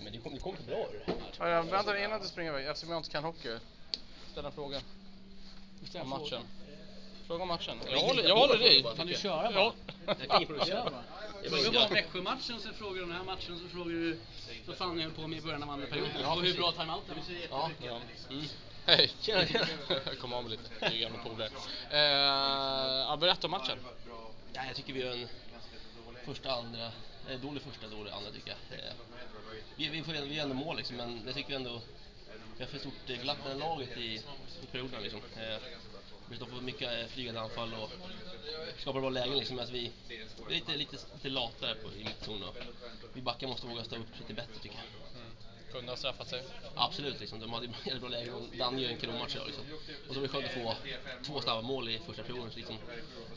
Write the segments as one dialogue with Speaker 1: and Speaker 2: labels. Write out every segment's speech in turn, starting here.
Speaker 1: men det kom, det kom inte bra ur den här.
Speaker 2: Ja, ja, vänta innan du springer iväg eftersom jag inte kan hockey.
Speaker 1: Ställ en fråga.
Speaker 3: Bestäm
Speaker 1: Om
Speaker 3: frågan.
Speaker 1: matchen. Fråga om matchen.
Speaker 4: Jag
Speaker 1: Jag håller,
Speaker 4: hittar
Speaker 1: jag
Speaker 4: på
Speaker 1: håller
Speaker 4: frågor
Speaker 1: dig.
Speaker 4: bara.
Speaker 3: Kan du
Speaker 1: Tycker
Speaker 3: köra
Speaker 1: jag.
Speaker 3: bara?
Speaker 1: Ja.
Speaker 4: Jag kan inte
Speaker 3: Kör bara.
Speaker 4: Jag
Speaker 3: Fråga bara om
Speaker 4: bara-
Speaker 3: Växjömatchen, sen frågar du om den här matchen, så frågar du vad fan jag höll på med i början av andra perioden. och hur bra timeouten var.
Speaker 1: Ja, ja. Mm. Hej! Tjena, tjena! Jag kom av mig lite. Det är ju gamla polare. Eh, ja, berätta om matchen.
Speaker 4: Ja, jag tycker vi gör en första, andra, eh, dålig första, dålig andra tycker jag. Eh, vi, vi får vi gör ändå mål liksom, men jag tycker vi ändå vi har för stort eh, glapp mellan laget i, i perioderna liksom. Eh, vi står på mycket eh, flygande anfall och skapar bra lägen liksom. Alltså vi, vi är lite, lite, lite latare på, i mittzon och vi backar måste våga stå upp lite bättre tycker jag.
Speaker 1: Kunde ha straffat sig.
Speaker 4: Absolut, liksom. de hade ju jävligt bra lägen. och Danne gör en kanonmatch idag. Liksom. Och så var det skönt att få två snabba mål i första perioden, så liksom,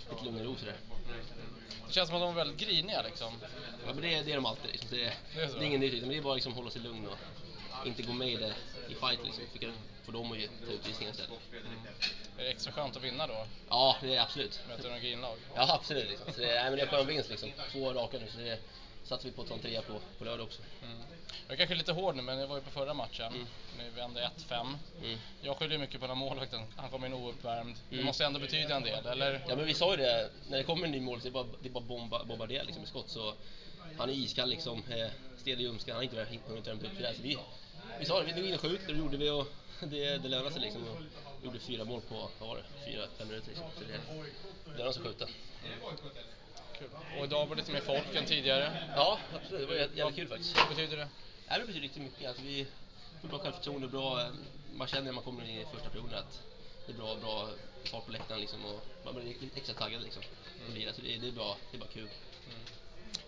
Speaker 4: lite lugn och ro sådär.
Speaker 1: Det känns som att de var väldigt griniga liksom.
Speaker 4: Ja, men det, det är de alltid. Liksom. Det,
Speaker 1: Det
Speaker 4: det,
Speaker 1: är så.
Speaker 4: är ingen nyhet, men det är bara liksom hålla sig lugn och inte gå med i, det, i fight liksom. Försöka få dem att ge- ta utvisningar istället.
Speaker 1: Är det extra skönt att vinna då?
Speaker 4: Ja, det är absolut.
Speaker 1: Möter några grinlag?
Speaker 4: Ja, absolut. Liksom. Så det, nej, men det är skön vinst liksom. Två raka nu, så det satsar vi på att ta en trea på, på lördag också.
Speaker 1: Mm. Jag är kanske är lite hård nu, men jag var ju på förra matchen.
Speaker 4: Mm.
Speaker 1: Nu vände 1-5.
Speaker 4: Mm.
Speaker 1: Jag skyller mycket på den här målvakten. Han kom in ouppvärmd. Det
Speaker 4: Mm.
Speaker 1: måste ändå betyda en del, eller?
Speaker 4: Ja men vi sa ju det, när det kommer en ny mål så är det bara, det är bara bomba, bombardera liksom med skott så han är iskall liksom, eh, stel i ljumsken, han har inte hunnit- hunnit värmt upp sådär så vi, vi sa det, vi går in och skjuter och det gjorde vi och det, det lönade sig liksom och vi gjorde fyra mål på, vad var det, fyra, fem minuter liksom så det, det lönade sig att skjuta.
Speaker 1: Kul. Och idag var det lite mer folk än tidigare.
Speaker 4: Ja absolut, det var jä- jävligt kul faktiskt.
Speaker 1: Vad betyder det?
Speaker 4: Nej, men det betyder riktigt mycket, alltså vi får bra självförtroende, bra, eh, man känner när man kommer in i första perioden att det är bra, bra fart på läktaren liksom och man blir extra taggad liksom. Och lira, så det, det är bra, det är bara kul.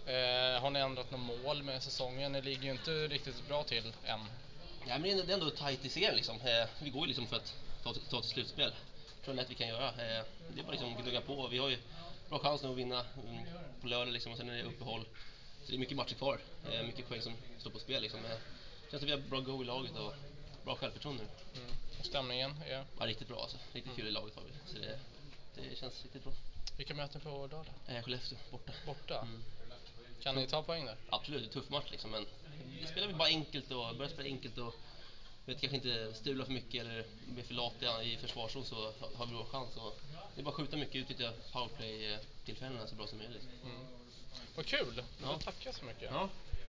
Speaker 1: Eh, har ni ändrat något mål med säsongen? Ni ligger ju inte riktigt bra till än.
Speaker 4: Ja, men det är ändå- det är ändå tajt i serien liksom. Eh, vi går ju liksom för att ta, ta till slutspel. Jag tror lätt vi kan göra. Eh, det är bara liksom gnugga på. Vi har ju bra chans nu att vinna mm, på lördag liksom och sen är det uppehåll. Så det är mycket matcher kvar. Eh, mycket poäng som står på spel liksom. Eh, det känns som vi har bra go i laget och bra självförtroende.
Speaker 1: Mm. Och stämningen är...
Speaker 4: Ja, riktigt bra alltså. Riktigt kul i laget har vi. Så det, det känns riktigt bra.
Speaker 1: Vilka möten på lördag?
Speaker 4: Eh, Skellefteå borta.
Speaker 1: Borta?
Speaker 4: Mm.
Speaker 1: Kan ni ta poäng där?
Speaker 4: Absolut, det är en tuff match liksom, men vi spelar väl bara enkelt och börjar spela enkelt och vet kanske inte strula för mycket eller bli för lata i försvarszon så har vi bra chans. Och det är bara att skjuta mycket, utnyttja powerplay-tillfällena så bra som möjligt.
Speaker 1: Mm. Vad kul!
Speaker 4: Ja.
Speaker 1: Tack så mycket.
Speaker 4: Ja,